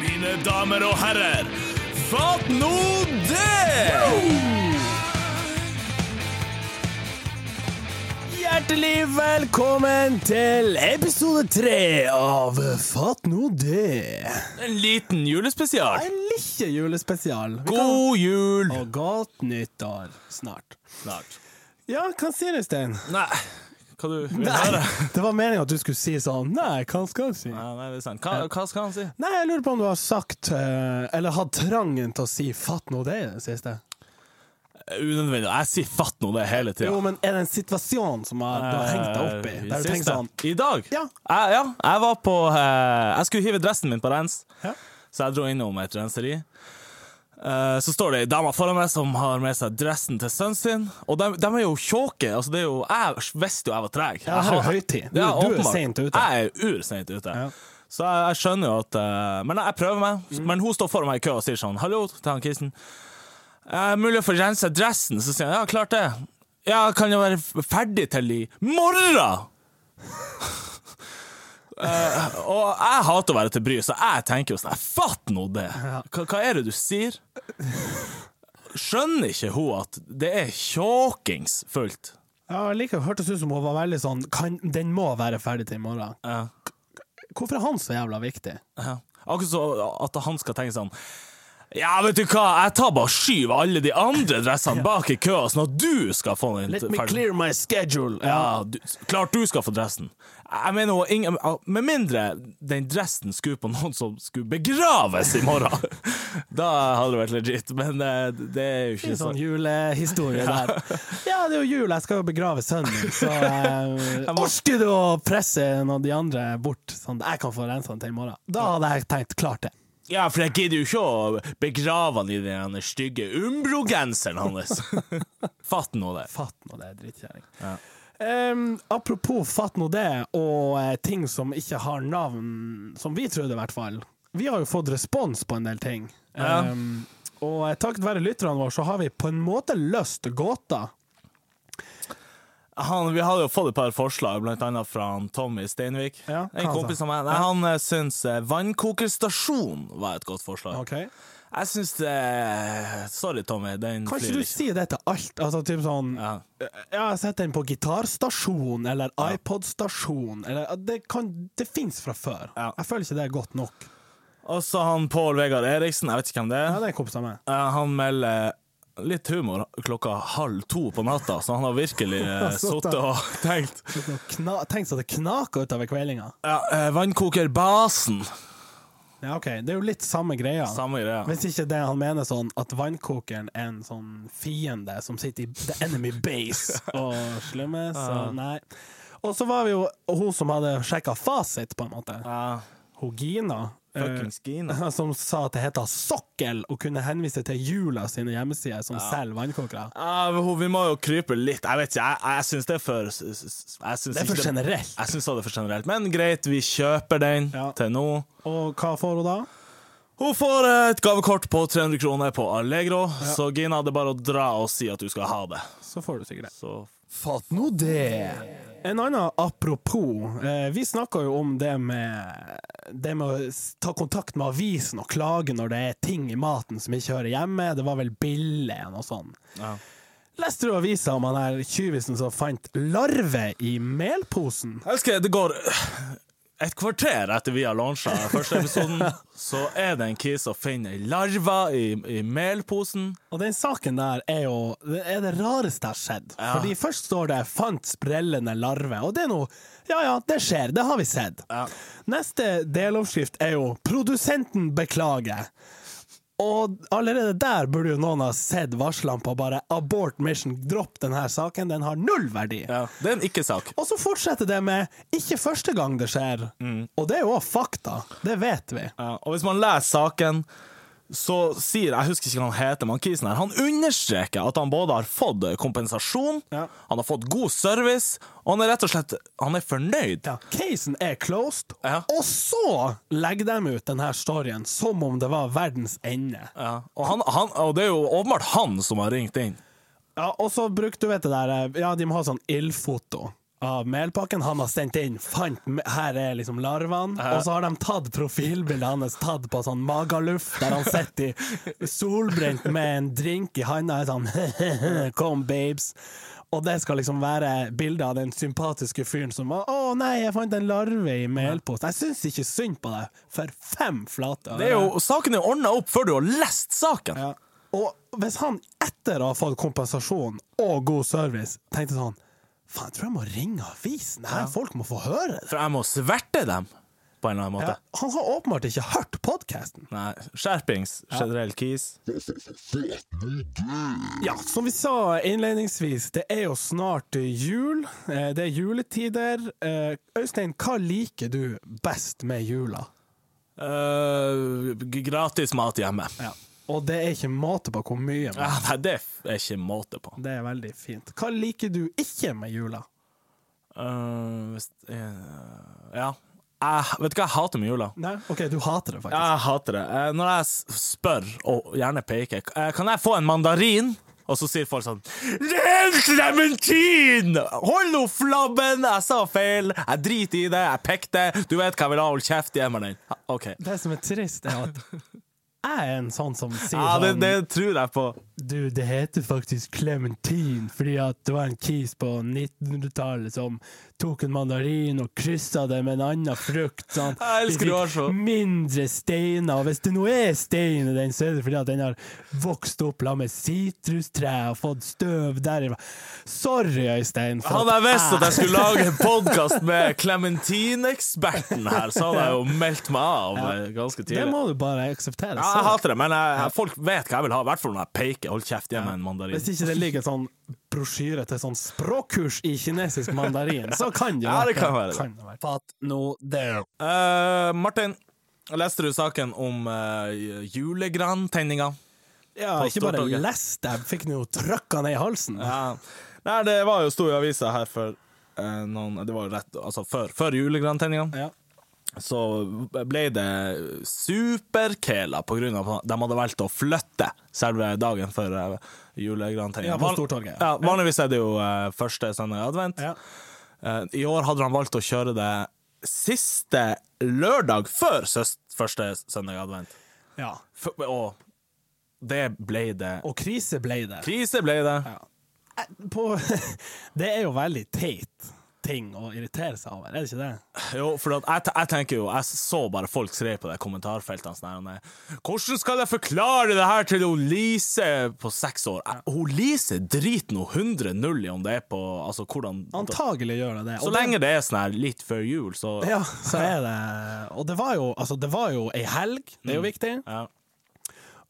mine damer og herrer. Fatt nå det! Hjertelig velkommen til episode tre av Fatt nå det. En liten julespesial. En lille julespesial. Vi kan- God jul! Og godt nyttår snart. Snart. Ja, hva sier du, Stein? Nei, hva du vil høre? Det var meningen at du skulle si sånn. Nei, hva skal du si? Nei, nei, det er sant. Hva, hva skal han si? Nei, jeg lurer på om du har sagt, eh, eller hatt trangen til å si 'fatt nå det' i det siste? Eh, Unødvendig. Jeg sier fatt nå det hele tida. Jo, men er det en situasjon som har, du har hengt deg opp i? Der du tenker sånn I dag? Ja. Jeg, ja, jeg var på eh, Jeg skulle hive dressen min på rens, Ja. så jeg dro innom et renseri. Eh, så står det ei dame foran meg som har med seg dressen til sønnen sin. Og de, de er jo tjåke. Altså, det er jo, jeg visste jo jeg var treg. Ja, Jeg her er har- høytid. Du, Ja, du er åpenbart. sent ute. Jeg er urseint ute. Ja. Mm. Så jeg, jeg skjønner jo at eh, Men jeg prøver meg. Men hun står foran meg i kø og sier sånn Hallo til han Kristen. Er det mulig å få rensa dressen? Så sier han ja, klart det. Ja, kan jeg være f- ferdig til i morgen? Eh, og jeg hater å være til bry, så jeg tenker jo sånn Fatt nå det! Hva, hva er det du sier? Skjønner ikke hun at det er tjåkings fullt? Ja, like, hørtes ut som hun var veldig sånn kan, 'Den må være ferdig til i morgen'. Ja. Hvorfor er han så jævla viktig? Ja. Akkurat så at han skal tenke sånn Ja, vet du hva, jeg tar bare og skyver alle de andre dressene bak i køa, sånn at du skal få den Let me ferdig. clear my schedule! Ja, du, klart du skal få dressen. Jeg mener, hun har ingen, Med mindre den dressen skulle på noen som skulle begraves i morgen, da hadde det vært legit, men eh, det er jo Det er ikke en sånn sånn. julehistorie der. Ja, det er jo jul, jeg skal jo begrave sønnen min, så eh, orker du å presse en av de andre bort, sånn at jeg kan få rensa den til i morgen? Da hadde jeg tenkt klart det. Ja, for jeg gidder jo ikke å begrave han i den stygge Umbro-genseren hans. Fatt nå det. Fatt nå det, drittkjerring. Em, apropos fatt nå det, og eh, ting som ikke har navn, som vi trodde i hvert fall. Vi har jo fått respons på en del ting. Ja. Em, og eh, takket være lytterne våre, så har vi på en måte løst gåta. han, vi hadde jo fått et par forslag, blant annet fra han Tommy Steinvik. Ja, hva en han kompis sa? av meg. Nei, han eh, syns eh, vannkokerstasjon var et godt forslag. Okay. Jeg syns det Sorry, Tommy. Den Kan flyr ikke du ikke. si det til alt? Altså typ sånn Ja. Ja, jeg har sett den på gitarstasjon eller iPod-stasjon. Eller, det kan, det fins fra før. Ja. Jeg føler ikke det er godt nok. Og så han Pål Vegard Eriksen, jeg vet ikke hvem det Ja, er. det er en kompis av meg. Eh, Han melder litt humor klokka halv to på natta, så han har virkelig eh, Satt sittet der. og tenkt. Sitter og Kna Tenk så det knaker utover kvelinga. Ja, eh, vannkokerbasen. Ja, OK, det er jo litt samme greia. Samme greia. Hvis ikke det han mener sånn at vannkokeren er en sånn fiende som sitter i the enemy base og slummer, så nei. Og så var vi jo hun som hadde sjekka fasit, på en måte. Ja, Hun Gina. eh, Fuckings Gina. Som sa at det heter sokkel, og kunne henvise til Jula sine hjemmesider som selger vannkokere. Ja, men hun- vi må jo krype litt. Jeg vet ikke, jeg, jeg syns det er for s- s- jeg syns Det er for ikke generelt. Jeg syns også det er for generelt. Men greit, vi kjøper den Ja. til nå. Og hva får hun da? Hun får eh, et gavekort på 300 kroner på Allegro, så Gina, det er bare å dra og si at du skal ha det. Så får du sikkert det. Så Fatt nå det! En annen apropos. Eh, vi snakka jo om det med, det med å s- ta kontakt med avisen og klage når det er ting i maten som ikke hører hjemme. Det var vel bille eller noe sånt. ja. Leste du avisa om han her tjuvisen som fant larve i melposen? Jeg husker det går et kvarter etter vi har launchet første episoden, så er det en kis som finner ei larve i, i melposen. Og den saken der er jo det er det rareste jeg har skjedd. Ja. Fordi først står det 'fant sprellende larve', og det er noe Ja ja, det skjer, det har vi sett. Ja. Neste deloppskrift er jo 'Produsenten beklager'. Og allerede der burde jo noen ha sett varslene på bare 'abort mission', dropp denne saken, den har null verdi. Ja. Det er en ikke-sak. Og så fortsetter det med 'ikke første gang det skjer', Mm. og det er jo også fakta. Det vet vi. Ja, og hvis man leser saken, så sier Jeg husker ikke hva han heter, men han kisen her Han understreker at han både har fått kompensasjon, Ja. han har fått god service, og han er rett og slett Han er fornøyd. Ja, casen er closed, Ja. og så legger de ut denne storyen som om det var verdens ende. Ja, Og, han, han, og det er jo åpenbart han som har ringt inn. Ja, og så brukte du vet det der eh, Ja, de må ha sånn ildfoto. av melpakken han har sendt inn. Fant, me- her er liksom larvene. Og så har de tatt profilbildet hans tatt på sånn magaluff, der han sitter i solbrent med en drink i handa. er Sånn Kom, babes. Og det skal liksom være bildet av den sympatiske fyren som var Å nei, jeg fant en larve i melpost. Jeg syns ikke synd på deg, for fem flate Det er jo, saken er jo ordna opp før du har lest saken! ja. Og hvis han etter å ha fått kompensasjon og god service tenkte sånn Faen, jeg tror jeg må ringe avisen. Her, Folk må få høre det. For jeg må sverte dem, på en eller annen måte. Ja. Han har åpenbart ikke hørt podkasten. Nei, skjerpings. Generell kis. Ja, som vi sa innledningsvis, det er jo snart jul. Eh, Det er juletider. Eh, Øystein, hva liker du best med jula? Eh, g- gratis mat hjemme. Og det er ikke måte på hvor mye. Men Ja, nei, det er ikke måte på. det er veldig fint. Hva liker du ikke med jula? Eh, hvis, eh, ja. Jeg, vet du hva jeg hater med jula? Nei, OK, du hater det faktisk. Jeg hater det. Eh, Når jeg s- spør, og gjerne peker, k- eh, kan jeg få en mandarin? Og så sier folk sånn Det er en klementin! Hold nå flabben! Jeg sa feil. Jeg driter i det. Jeg pekte. Du vet hva jeg vil ha. Hold kjeft. Gi meg den. Ja, OK. Det som er trist, er at jeg er en sånn som sier Ja, det, sånn det tror jeg på. Du, det heter faktisk Clementine, fordi at det var en kis på 1900-tallet som tok en mandarin og kryssa det med en annen frukt. Sant? Jeg elsker Vi du har fikk så. Mindre steiner, og hvis det nå er stein i den, så er det fordi at den har vokst opp la med sitrustrær og fått støv derifra. Sorry, Øystein. for Hadde jeg visst at jeg jeg- skulle lage en podkast med Clementine-eksperten her, så hadde jeg jo meldt meg av eh, ganske Det tidlig. må du bare akseptere. Ja, jeg Sorry. hater det, men jeg, folk vet hva jeg vil ha, i hvert fall når jeg peker. Hold kjeft, gi meg en mandarin. Hvis ikke det ligger sånn brosjyre til sånn språkkurs i kinesisk mandarin, så kan det jo Ja, det kan være det. Kan det være. Fatt nå det. Eh, Martin, leste du saken om uh, julegrantenninga? Ja, På ikke bare Stortorget. lest det, jeg fikk den jo trøkka ned i halsen. Ja. Nei, det var jo sto i avisa her for eh, noen Det var jo rett Altså, før, før julegrantenninga. Ja. så ble det superkela på grunn av at de hadde valgt å flytte selve dagen for eh, julegrantenningen. Ja, på Van- Stortorget, Ja, ja. vanligvis er det jo eh, første søndag i advent. Ja. Eh, I år hadde de valgt å kjøre det siste lørdag før søs- første søndag i advent. Ja. F og det ble det. Og krise ble det. Krise ble det. Ja. Eh, På, det er jo veldig teit ting å irritere seg over, er det ikke det? Jo, for at jeg, te- jeg tenker jo Jeg så bare folk skrev på det kommentarfeltene sånn her, og nei, Hvordan skal jeg forklare det her til hun Lise på seks år? Jeg- Hun Lise driter nå 100-0 i om det er på Altså hvordan Antagelig gjør det det. Så Og det- lenge det er sånn her litt før jul, så Ja, så er det Og det var jo, altså, det var jo ei helg, det er Mm. jo viktig. Ja.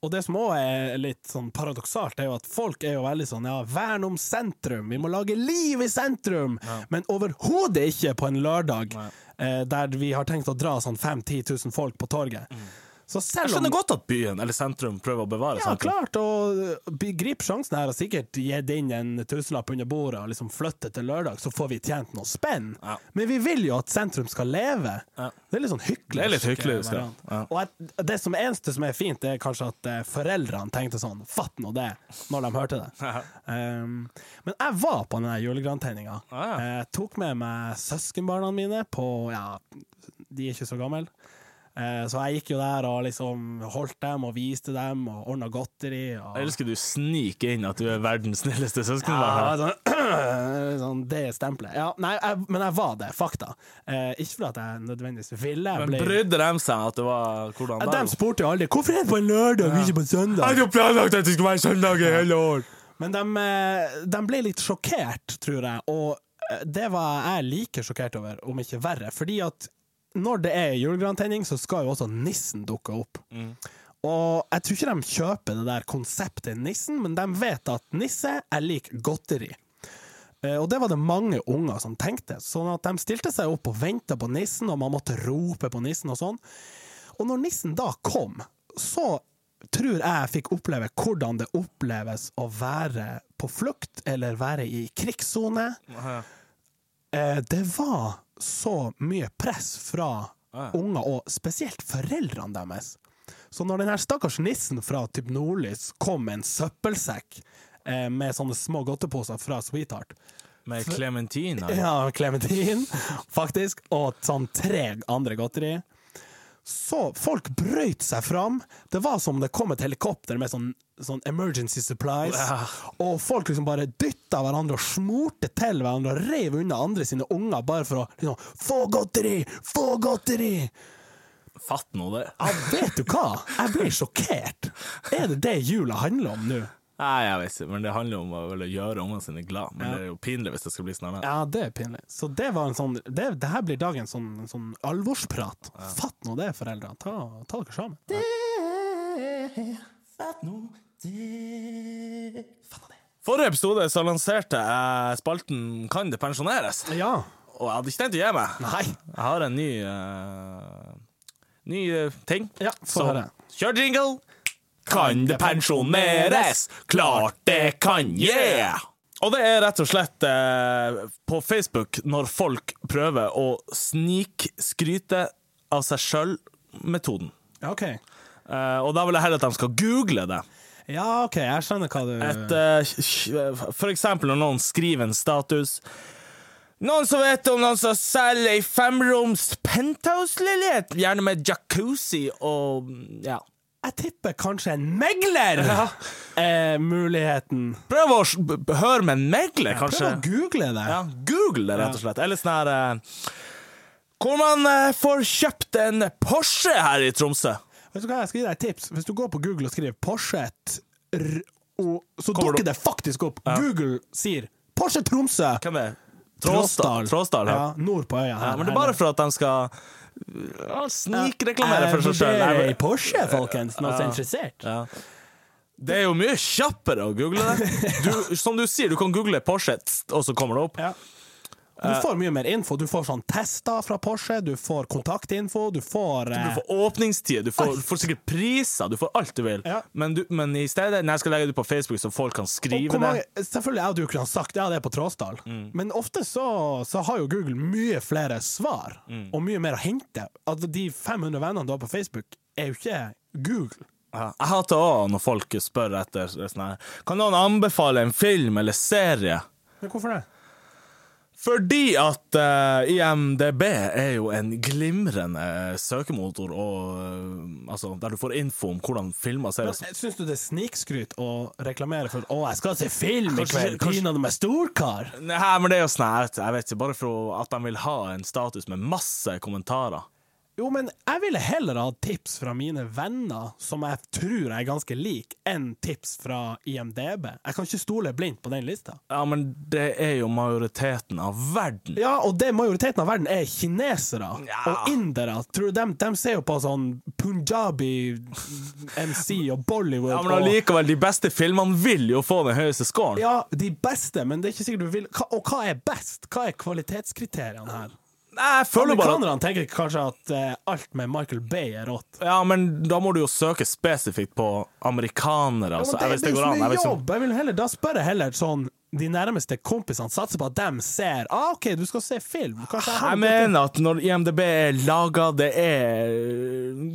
Og det som òg er litt sånn paradoksalt, er jo at folk er jo veldig sånn ja, vern om sentrum, vi må lage liv i sentrum! Men overhodet ikke på en lørdag eh, der vi har tenkt å dra sånn 5 000-10 000 folk på torget. Så Mm. Jeg selv om skjønner godt at byen, eller sentrum, prøver å bevare ja, sentrum. klart, og be- grip sjansen her og sikkert gitt inn en tusenlapp under bordet og liksom flytte til lørdag, så får vi tjent noe spenn. Ja. Men vi vil jo at sentrum skal leve. Ja. Det er litt sånn hyklerisk. Det er litt hyklerisk, ja. variant. Ja. Og at det som eneste som er fint, det er kanskje at eh, foreldrene tenkte sånn, fatt nå det, når de hørte det. Um, men jeg var på den julegrantenninga. Ah, ja. Jeg tok med meg søskenbarna mine på Ja, de er ikke så gamle. Eh, Så jeg gikk jo der og liksom holdt dem og viste dem og ordna godteri. Og, Jeg elsker du sniker inn at du er verdens snilleste ja, søskenbarn. sånn, sånn, det er stempelet. Ja, nei, jeg, men jeg var det, fakta. Eh, ikke fordi at jeg nødvendigvis ville. Jeg Men brydde de seg at det var hvordan de spurte jo aldri hvorfor er det på en lørdag, ikke på en søndag. jo planlagt at det skulle være søndag i hele år! Men de, eh, de ble litt sjokkert, tror jeg, og eh, det var jeg like sjokkert over, om ikke verre. Fordi at når det er julegrantenning, så skal jo også nissen dukke opp. Og jeg tror ikke de kjøper det der konseptet nissen, men de vet at nisse er lik godteri. Eh, Og det var det mange unger som tenkte, sånn at de stilte seg opp og venta på nissen, og man måtte rope på nissen og sånn. Og når nissen da kom, så tror jeg jeg fikk oppleve hvordan det oppleves å være på flukt, eller være i krigssone. Eh, Det var så mye press fra unger, og spesielt foreldrene deres. Så når den her stakkars nissen fra typ Nordlys kom med en søppelsekk eh, med sånne små godteposer fra Sweetheart, Med Clementina. Ja, Clementine, faktisk, og sånn tre andre godteri. Så folk brøyt seg fram. Det var som det kom et helikopter med sånn, sånn emergency supplies. Ja. Og folk liksom bare dytta hverandre og smurte til hverandre og reiv unna andre sine unger bare for å liksom, Få godteri! Få godteri! Fatt nå det. Ja, vet du hva? Jeg ble sjokkert. Er det det jula handler om nå? Nei, jeg vet ikke, men det handler om å vel, gjøre ungene sine glad. Men det er jo pinlig hvis det skal bli sånn. her. Ja, det er pinlig. Så det var en sånn Det, det her blir dagens sånn, sånn alvorsprat. Fatt nå det, foreldre. Ta, ta dere sammen. Forrige episode så lanserte jeg spalten Kan det pensjoneres? Ja. Og jeg hadde ikke tenkt å gi meg. Nei. Jeg har en ny eh, Ny eh, ting. Ja, få høre. kjør jingle! Kan det pensjoneres? Klart det kan, yeah! Og det er rett og slett eh, på Facebook når folk prøver å snikskryte av seg sjøl-metoden. OK. Eh, og da vil jeg heller at de skal google det. Ja, OK, jeg skjønner hva du Et, eh, for eksempel når noen skriver en status Noen som vet om noen som selger ei femroms penthouse-leilighet, gjerne med jacuzzi og mm, ja. Jeg tipper kanskje en megler er muligheten. Prøv å s- b- b- høre med en megler, Prøv kanskje. å google det. Ja, Google det, rett og slett. Eller sånn her eh, Hvor man eh, får kjøpt en Porsche her i Tromsø. Vet du hva, jeg skal gi deg et tips. Hvis du går på Google og skriver Porschet, r- og- så Kommer dukker det faktisk opp. Google sier Porsche Tromsø! Hvem er det? Tråsdal. Tråsdal, ja. Ja, nord på øya. Ja, her. men det er Her bare for at de skal eh, ja, snikreklamere for seg Jeg Eh, vurderer sjøl. ei Porsche, folkens. Noen som er interessert? Ja. Det er jo mye kjappere å google det. Du, som du sier, du kan google Porsche, tst, og så kommer det opp. Ja. Du får mye mer info. Du får sånn tester fra Porsche, du får kontaktinfo, du får Du eh, får åpningstid, du får, får sikkert priser, du får alt du vil. Ja. Men, du, men i stedet Når jeg skal legge det ut på Facebook, så folk kan og skrive hvor mange, det. selvfølgelig jeg og du kunne ha sagt ja, det er på Tråsdal, Mm. men ofte så, så har jo Google mye flere svar Mm. og mye mer å hente. At de 500 vennene du har på Facebook, er jo ikke Google. Ja. Jeg hater òg når folk spør etter sånn her Kan noen anbefale en film eller serie? Men hvorfor det? Fordi at eh, IMDb er jo en glimrende søkemotor, og, eh, altså, der du får info om hvordan filmer ser ut. Syns du det er snikskryt å reklamere for 'Å, jeg skal se film i Kanskje- kveld', kanskje- pinadø med storkar? Nei, men det er jo sånn her, jeg vet ikke, bare for at de vil ha en status med masse kommentarer. Jo, men jeg ville heller ha tips fra mine venner, som jeg tror er ganske lik, enn tips fra IMDb. Jeg kan ikke stole blindt på den lista. Ja, men det er jo majoriteten av verden. Ja, og det majoriteten av verden er kinesere Ja. og indere. Tror du dem, dem ser jo på sånn punjabi MC og Bollywood Ja, men og allikevel, de beste filmene vil jo få den høyeste scoren. ja, de beste, men det er ikke sikkert du vil hva, Og hva er best? Hva er kvalitetskriteriene her? Nei, jeg føler bare at- Amerikanerne tenker kanskje at eh, alt med Michael Bay er rått. Ja, men da må du jo søke spesifikt på amerikanere, Ja, altså. Jeg men vet det går an. Jeg blir vet så mye ikke om- jobb. Jeg vil heller, da spør jeg heller sånn de nærmeste kompisene satser på at de ser ah, OK, du skal se film. Kanskje jeg har Jeg gått inn- mener at når IMDb er laga, det er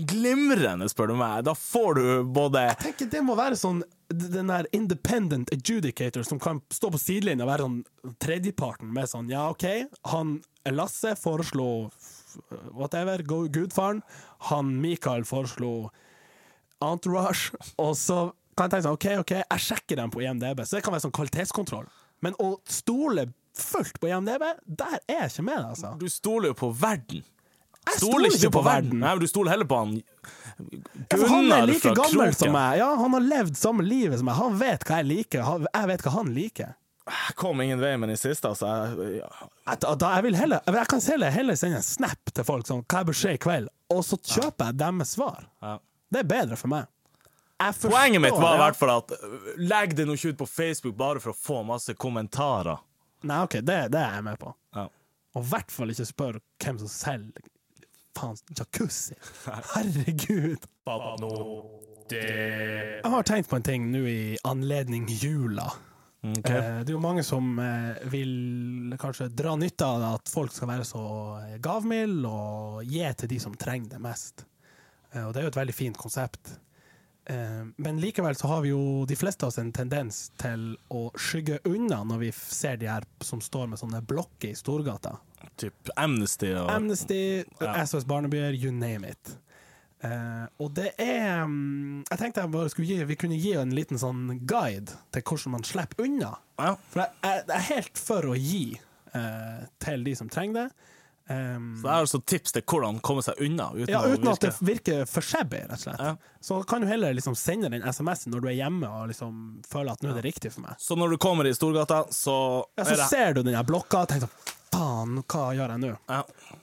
glimrende, spør du meg. Da får du både Jeg tenker det må være sånn d- den der independent adjudicator som kan stå på sidelinja og være sånn tredjeparten med sånn Ja, OK, han Lasse foreslo f- whatever, go Gudfaren. Han Mikael foreslo Entourage. Og så kan jeg tenke sånn OK, OK, jeg sjekker dem på IMDb, så det kan være sånn kvalitetskontroll. Men å stole fullt på IMDb, der er jeg ikke med, altså. Du stoler jo på verden. Jeg stoler ikke på verden. Nei, men du stoler heller på han Ja, for Altså, han er Gunnar like fra gammel som Kroken. meg. Ja, han har levd samme livet som meg. Han vet hva jeg liker. Han- Jeg vet hva han liker. Jeg kom ingen vei med den siste, altså. Jeg, ja. Jeg, da, da- jeg, vil heller, jeg kan heller, heller sende en snap til folk sånn Hva bør skje i kveld? Og så kjøper jeg deres svar. Ja. Det er bedre for meg. Jeg forstår, Poenget mitt var i ja. hvert fall at øh, legg det nå ikke ut på Facebook bare for å få masse kommentarer. Nei, OK, det, det er jeg med på. Ja. Og i hvert fall ikke spør hvem som selger faen jacuzzi. Herregud. Jeg har tenkt på en ting nå i anledning jula. Eh, Det er jo mange som eh, vil kanskje dra nytte av at folk skal være så eh, gavmilde og gi til de som trenger det mest. Eh, Og det er jo et veldig fint konsept. Eh, Men likevel så har vi jo de fleste av oss en tendens til å skygge unna når vi f- ser de her som står med sånne blokker i storgata. Typ Amnesty og Amnesty, Ja. SOS Barnebyer, you name it. Eh, og det er mm, Jeg tenkte jeg bare skulle gi, vi kunne gi en liten sånn guide til hvordan man slipper unna. ja. For jeg, jeg, jeg er helt for å gi eh, til de som trenger det. Um, Så det er altså tips til hvordan komme seg unna uten, ja, uten å at virke det virker for shabby, rett og slett. Ja. Så kan du heller liksom sende den SMS-en når du er hjemme og liksom føler at nå er det riktig for meg. Så når du kommer i Storgata, så Ja, er så det ser du den her blokka og tenker sånn Faen, hva gjør jeg nå? ja.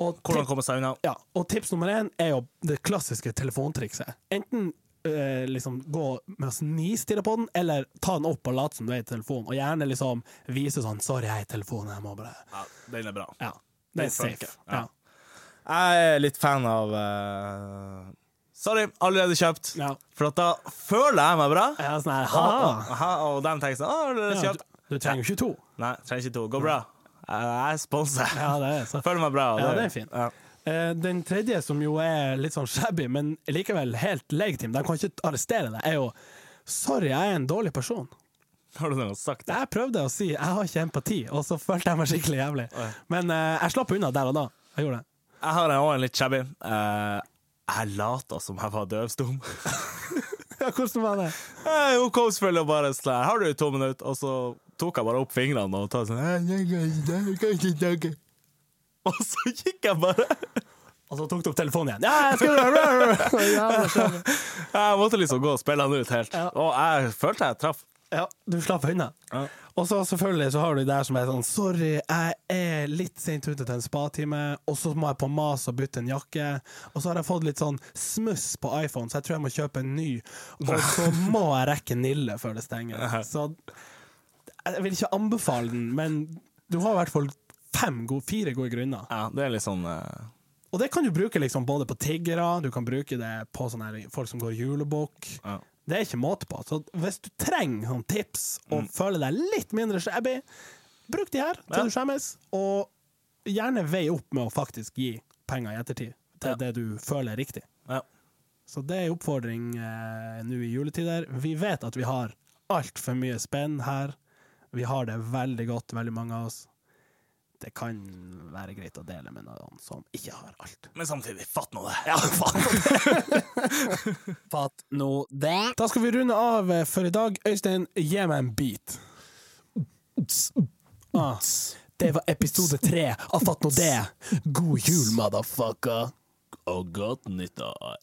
Og, Hvordan tip- komme seg unna. ja, og tips nummer én er jo det klassiske telefontrikset. Enten eh, liksom gå med å nistirre på den, eller ta den opp og late som du er i telefonen. Og gjerne liksom vise sånn 'Sorry, jeg er i telefonen, jeg må bare Ja, den er bra. Ja. Det Den er safe. funker, Ja. ja. Jeg er litt fan av eh, Sorry, allerede kjøpt. Ja. For at da føler jeg meg bra. Jeg er sånn her Og, Ha! og, og de tenker sånn Å, allerede Ja, kjøpt. du, du trenger jo ikke to. Nei, trenger ikke to. Går bra. Jeg jeg er sponset. Ja, det er så. Føler meg bra. og Ja, det er fint. Ja. Eh, Den tredje, som jo er litt sånn shabby, men likevel helt legitim, de kan ikke arrestere deg, er jo Sorry, jeg er en dårlig person. Har du noe sagt? Jeg prøvde å si jeg har ikke empati, og så følte jeg meg skikkelig jævlig. Men eh, jeg slapp unna der og da. Jeg gjorde det. Jeg har en annen litt shabby. Eh, jeg later som jeg var døvstum. Eh, Ja, hvordan var det? Jeg er Oppkomstfull og bare sånn her, Har du to minutter? Og så tok jeg bare opp fingrene og tok sånn «Eh, jeg kan ikke- jeg kan ikke snakke». Og så gikk jeg bare. Og så tok du opp telefonen igjen. Ja, jeg skulle Jævla shabby. Jeg måtte liksom gå og spille han ut helt. Ja. Og jeg følte jeg traff. Ja, du slapp unna. Ja. Og så selvfølgelig så har du de der som er sånn Sorry, jeg er litt sent ute til en spatime, og så må jeg på mas og bytte en jakke. Og så har jeg fått litt sånn smuss på iPhone, så jeg tror jeg må kjøpe en ny. Og så må jeg rekke Nille før det stenger. Så jeg vil ikke anbefale den, men du har i hvert fall fem gode, fire gode grunner. Ja, det er litt sånn eh, Og det kan du bruke liksom både på tiggere, du kan bruke det på sånne her folk som går julebukk. ja. Det er ikke måte på. Så hvis du trenger sånn tips og føler deg litt mindre shabby, bruk de her til Mm. Ja. du skjemmes, og gjerne vei opp med å faktisk gi penger i ettertid til Ja. det du føler er riktig. ja. Så det er oppfordring eh, nå i juletider. Vi vet at vi har altfor mye spenn her. Vi har det veldig godt, veldig mange av oss. Det kan være greit å dele med noen som ikke har alt. Men samtidig, fatt nå det. Ja, Fatt nå det. Da skal vi runde av eh, for i dag. Øystein, gi meg en beat. Ah, det var episode tre av Fatt nå det. God jul, motherfucker. Og godt nyttår.